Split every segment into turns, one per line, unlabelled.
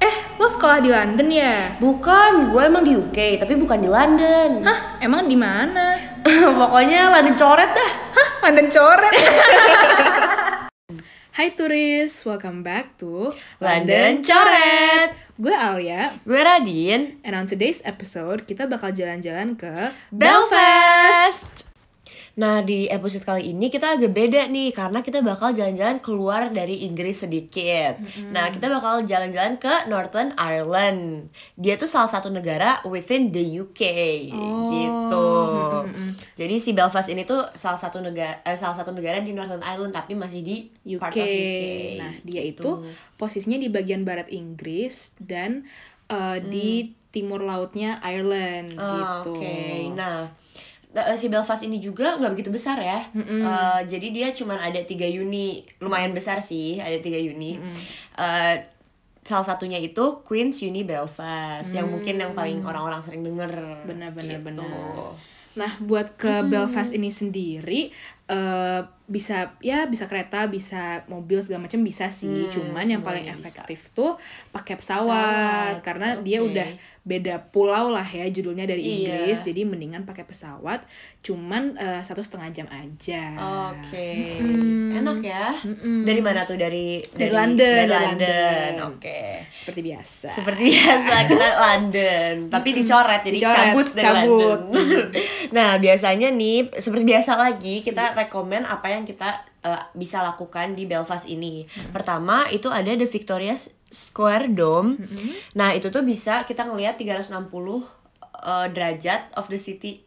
Eh, sekolah di London ya?
Bukan, gue emang di UK, tapi bukan di London.
Hah, emang di mana?
Pokoknya London coret dah.
Hah, London coret. Hai turis, welcome back to
London Coret.
Gue Alia,
Gue Radin.
and on today's episode kita bakal jalan-jalan ke
Belfast. Nah, di episode kali ini kita agak beda nih karena kita bakal jalan-jalan keluar dari Inggris sedikit. Nah, kita bakal jalan-jalan ke Northern Ireland. Dia tuh salah satu negara within the UK
Oh.
gitu.
Mm-mm.
Jadi si Belfast ini tuh salah satu negara eh, salah satu negara di Northern Ireland tapi masih di
UK.
part of UK.
Nah, dia itu
gitu.
posisinya di bagian barat Inggris dan eh, di timur lautnya Ireland
Ah,
gitu.
Hmm. Oke, nah eh, si Belfast ini juga nggak begitu besar ya.
Mm-mm.
Eh, jadi dia cuman ada tiga uni, lumayan besar sih, ada tiga uni. Eh, salah satunya itu Queen's Uni Belfast yang mungkin yang paling orang-orang sering denger.
Mm. Benar, benar,
gitu.
benar. Nah, buat ke Belfast ini sendiri eh bisa ya bisa kereta, bisa mobil segala macam bisa sih.
Hmm,
Cuman yang paling
semuanya bisa.
efektif tuh pakai pesawat,
Pesawat,
karena dia
oke.
udah beda pulau lah ya judulnya dari
Iya.
Inggris. Jadi mendingan pakai pesawat cuman eh, satu setengah jam aja.
Oke,
Mm-mm.
enak ya.
Mm-mm.
Dari mana tuh dari
Dari London,
dari
dari
London.
London.
Oke.
Seperti biasa.
Seperti biasa kita London, tapi dicoret jadi
Dicoret,
cabut dari
cabut.
London. nah, biasanya nih seperti biasa lagi kita rekomen apa yang kita eh, bisa lakukan di Belfast ini. Pertama itu ada The Victoria Square Dome. Nah, itu tuh bisa kita ngelihat 360 eh, derajat of the city.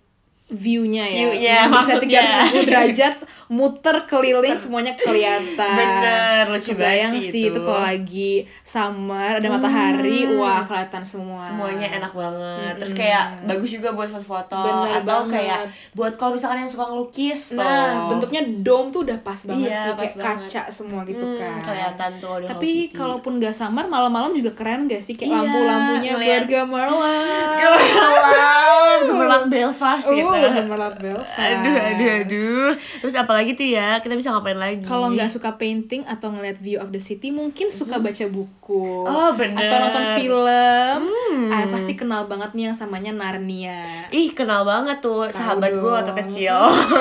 View-nya ya.
View-nya,
Bisa
maksudnya.
360 derajat muter keliling semuanya kelihatan.
Bener, lucu
Kebayang
banget sih
sih itu
itu. Hmm.
kalau lagi summer ada matahari, wah kelihatan semua.
Semuanya enak banget. Terus kayak bagus juga buat foto-foto
Bener
atau
banget.
kayak buat kalau misalkan yang suka ngelukis tuh.
Nah, bentuknya dome tuh udah pas banget
Iya,
sih
pas
kayak
banget.
kaca semua gitu
Hmm,
kan.
kelihatan tuh the whole
Tapi
city.
kalaupun nggak summer malam-malam juga keren gak sih kayak
Iya,
lampu-lampunya
ngeliat.
bergemerlap.
Gemerlap, gemerlap Belfast gitu.
Uh, gemerlap Belfast.
Aduh, aduh, aduh. Terus apalagi tuh ya, kita bisa ngapain lagi?
Kalau nggak suka painting atau ngeliat view of the city, mungkin suka baca buku
Oh, bener. Hmm.
atau nonton film. Ah, pasti kenal banget nih yang samanya Narnia.
Ih, kenal banget tuh sahabat
dong.
gue waktu kecil.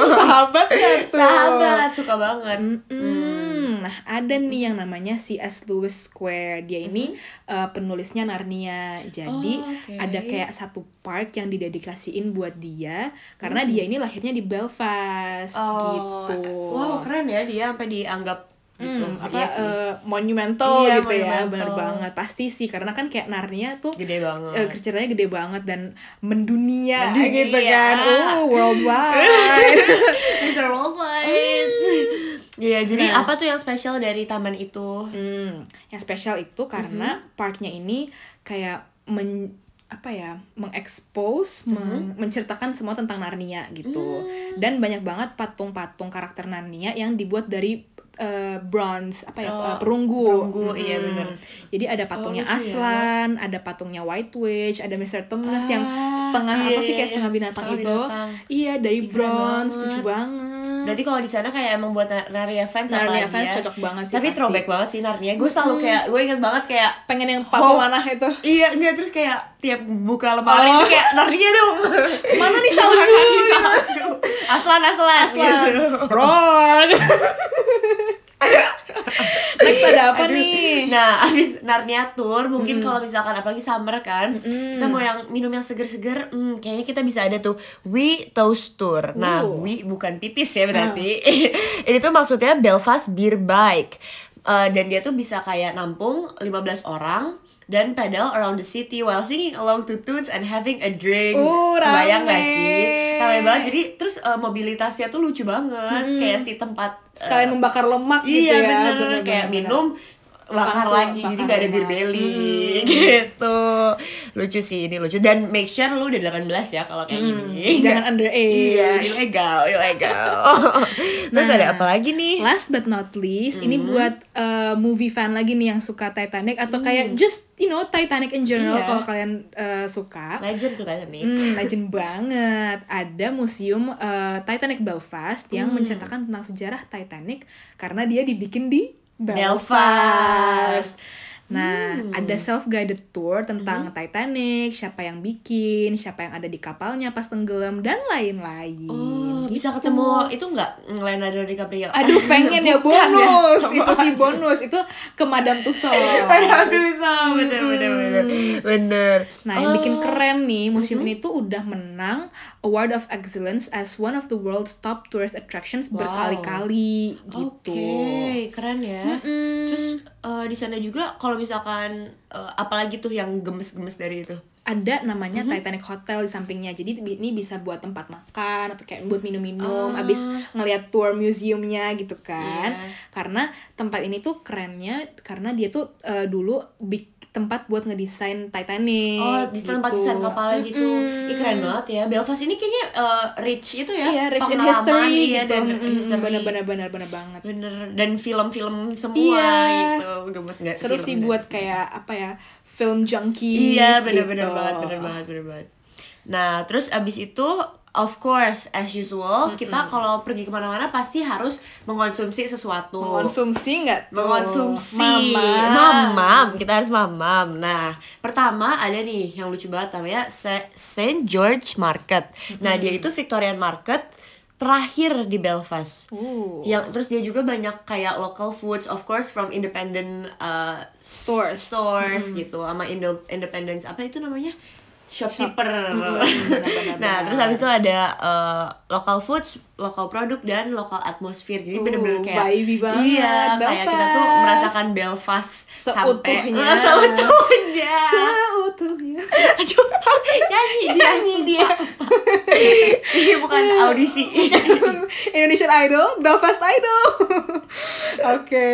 Sahabat ya tuh.
sahabat, Hmm. suka banget.
Mm-mm. Nah, ada nih yang namanya C.S. Lewis Square. Dia ini eh, penulisnya Narnia. Jadi
Mm-hmm. Oh, oke.
ada kayak satu park yang didedikasiin buat dia karena dia ini lahirnya di Belfast
Mm-hmm. Oh,
gitu.
Wow, keren ya dia sampai dianggap gitu.
Hmm, apa
Iya sih,
eh, monumental
Iya,
gitu ya
monumental.
bener banget pasti sih karena kan kayak Narnia tuh
gede banget.
eh, ceritanya gede banget dan mendunia,
Mendunia.
gitu kan oh worldwide
Mr. Worldwide. Iya, jadi
Nah.
apa tuh yang spesial dari taman itu?
Hmm, yang spesial itu karena
Mm-hmm.
parknya ini kayak men apa ya mengekspos
Mm-hmm.
meng- menceritakan semua tentang Narnia gitu
Mm.
dan banyak banget patung-patung karakter Narnia yang dibuat dari eh, bronze apa ya
Oh,
eh, perunggu,
perunggu, iya
Mm-mm.
bener.
jadi ada patungnya
lucu ya.
Aslan ada patungnya White Witch ada Mr. Tumnus yang
Ah,
setengah
iya,
apa sih
iya,
kayak
iya.
setengah binatang
Setengah
itu
binatang.
iya dari
Ih, keren
bronze
banget.
lucu banget
Berarti kalau di sana kayak emang buat Nar- Narnia fans
Hmm. Narnia
apalagi
fans
ya.
cocok banget sih
Tapi
pasti. Hmm.
throwback banget sih Narnia. Gue selalu kayak gue inget banget kayak
pengen yang patung
Hope.
manah itu
Iya, enggak terus kayak tiap buka lemari
Oh.
itu kayak Narnia dong.
Mana nih salju?
Mana nih salju? Aslan, aslan. gitu.
Ron. Next ada apa nih?
Nah, abis Narnia tour mungkin kalau misalkan apalagi summer kan, kita mau yang minum yang seger-seger, hmm, kayaknya kita bisa ada tuh We Toast Tour. Nah,
Uh.
We bukan pipis ya berarti.
Ah.
Ini tuh maksudnya Belfast Beer Bike. Eh, dan dia tuh bisa kayak nampung 15 orang dan pedal around the city while singing along to tunes and having a drink.
Uh,
Kebayang
rame.
gak sih? Ramai banget. Jadi terus eh, mobilitasnya tuh lucu banget. Kayak si tempat eh,
Sekalian membakar lemak gitu
iya
ya.
bener, kayak
bener.
minum bakar
Langsung
lagi jadi
bakar
gak ada beer
lemak.
belly
Hmm.
gitu lucu sih ini lucu dan make sure lu udah 18 ya kalau kayak gini
Hmm. Jangan underage.
iya ilegal ilegal terus
Nah.
ada apa lagi nih
Last but not least, ini
Hmm.
buat uh, movie fan lagi nih yang suka Titanic atau kayak just you know Titanic in general
Iya.
kalau kalian uh, suka.
legend tuh tadi nih
Hmm, legend banget. Ada museum uh, Titanic Belfast yang
Hmm.
menceritakan tentang sejarah Titanic karena dia dibikin di Hmm, Belfast.
Belfast.
Nah,
Hmm.
ada self guided tour tentang Titanic, siapa yang bikin, siapa yang ada di kapalnya pas tenggelam dan lain-lain.
Oh, bisa
Gitu.
ketemu itu nggak Leonardo DiCaprio?
Aduh, pengen ya
Bukan ya?
bonus. Itu sih bonus. Itu ke Madame Tussauds.
Padahal tuh bisa, bener bener bener bener. Oh,
Nah, yang bikin keren nih, museum ini
Mm-hmm.
tuh udah menang Award of Excellence as one of the world's top tourist attractions
Wow.
berkali-kali gitu. Hmm,
Oke, keren ya.
Mm-mm.
Terus eh, di sana juga kalau misalkan eh, apalagi tuh yang gemes-gemes dari itu.
ada namanya
Mm-hmm.
Titanic Hotel di sampingnya. Jadi bi- ini bisa buat tempat makan atau kayak buat minum-minum
Ah.
abis ngeliat tour museumnya gitu kan.
Iya.
Karena tempat ini tuh kerennya karena dia tuh eh, dulu bik- tempat buat ngedesain Titanic.
Oh, di tempat desain kapalnya gitu.
Iya, Mm-mm.
Ih, keren banget ya. Belfast ini kayaknya eh, rich itu ya.
Iya, rich in
pengalaman,
history
iya,
gitu.
Dan
Mm-mm,
history.
Bener-bener bener-bener banget.
Bener. Dan film-film semua
Iya.
gitu. Gemes nggak
Seru
film
sih
dan-
buat kayak apa ya film junkies
Iya, bener-bener
gitu.
banget, bener banget, bener banget. Nah, terus abis itu Of course, as usual, kita kalau pergi kemana-mana pasti harus mengkonsumsi sesuatu.
Mengonsumsi nggak tuh?
mengonsumsi
Mama.
mamam kita harus mamam nah pertama ada nih yang lucu banget namanya Se- Saint George Market nah dia itu Victorian Market terakhir di Belfast
Uh.
yang terus dia juga banyak kayak local foods of course from independent uh, s-
Stores. Hmm.
stores gitu sama Indo independence apa itu namanya shopkeeper
Hmm, benar-benar.
nah terus habis itu ada uh, local foods local produk dan local atmosphere
Uh,
jadi bener-bener kayak
vibey banget,
iya kayak kita tuh
Belfast.
merasakan Belfast
Seutuhnya.
sampai Ah, seutuhnya
Seutuhnya.
aduh nyanyi dia nyanyi dia ini bukan audisi
Indonesian Idol, Belfast Idol. Oke.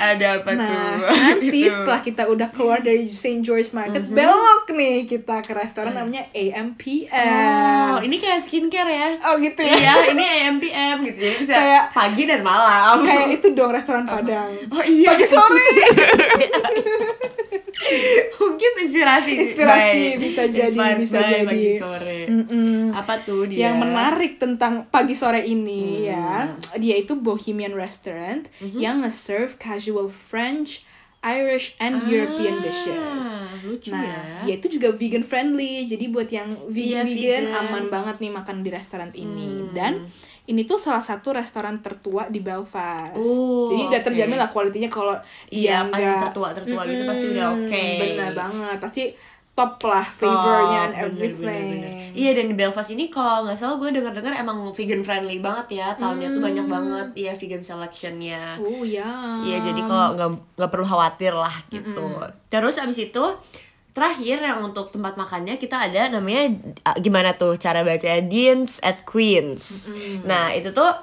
ada apa
Nah,
tuh
nanti
Gitu. Mm-hmm.
setelah kita udah keluar dari St. George Market, belok nih kita ke restoran namanya
Mm. Oh,
AMPM.
ini kayak skincare ya.
Oh, gitu ya.
Iya, ini AMPM gitu. Jadi bisa
Kayak-
pagi dan malam.
Kayak itu dong restoran Padang.
Oh iya.
Pagi sore.
Mungkin inspirasi.
Inspirasi,
By-
bisa jadi,
inspired
bisa
by
jadi.
pagi sore.
Mm-mm.
Apa tuh dia?
Yang menarik tentang pagi sore
Hmm.
ini ya, dia itu Bohemian Restaurant
Mm-hmm.
yang nge-serve casual French, Irish, and
Ah,
European dishes.
Lucu
Nah,
ya.
dia itu juga vegan friendly. Jadi buat yang
Iya,
vegan, vegan
vegan. Hmm.
aman banget nih makan di restoran ini. Dan ini tuh salah satu restoran tertua di Belfast.
Oh,
Jadi udah
oke.
terjamin lah kualitinya kalau
Iya,
dia
paling
nggak-
tertua-tertua gitu pasti udah
Mm-mm,
oke.
Bener banget. Pasti top lah flavornya and
Oh, bener, bener,
everything.
bener. Iya dan di Belfast ini kalau nggak salah gue dengar-dengar emang vegan friendly banget ya tahunnya tuh banyak
Mm.
banget ya vegan selectionnya.
Oh ya.
Iya jadi kok nggak nggak perlu khawatir lah gitu. Terus abis itu terakhir yang untuk tempat makannya kita ada namanya ah, gimana tuh cara bacanya Dean's at Queens. Nah itu tuh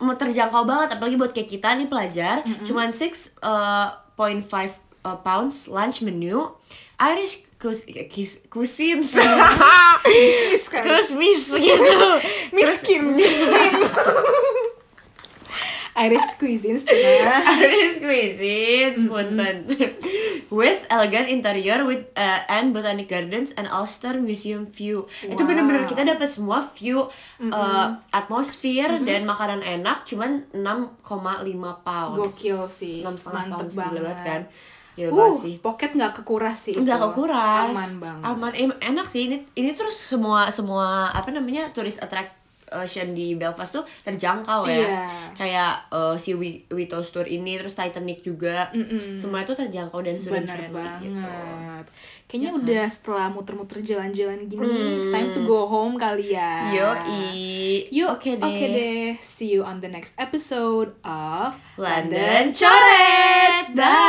mau terjangkau banget apalagi buat kayak kita nih pelajar cuman eh, 6.5 uh, pounds lunch menu Irish cous- kis- cuisines
Miss kan?
kusmis gitu
miskin, miskin. Irish cuisine kan? setelah
Irish cuisine, punten. With elegant interior with uh, and botanic gardens and Ulster Museum view. Itu
Wow.
bener-bener kita dapat semua view uh, atmosfer dan makanan enak cuman 6,5 pounds.
Gokil sih.
6,5
Mantep
pounds gila banget
banget.
kan. Gila
Uh,
banget sih.
pocket nggak kekuras sih.
Enggak
itu.
kekuras.
Gitu. Aman banget.
Aman. Em- enak sih ini ini terus semua semua apa namanya turis attraction di Belfast tuh terjangkau ya.
Iya.
Kayak eh, si Wi- Witos Tour ini terus Titanic juga. Semua itu terjangkau dan student
Bener
friendly
banget.
gitu.
Kayaknya udah setelah muter-muter jalan-jalan gini, it's time to go home kali ya.
Hmm. Yoi.
Yuk,
Oke deh.
deh. See you on the next episode of
London Coret. Bye.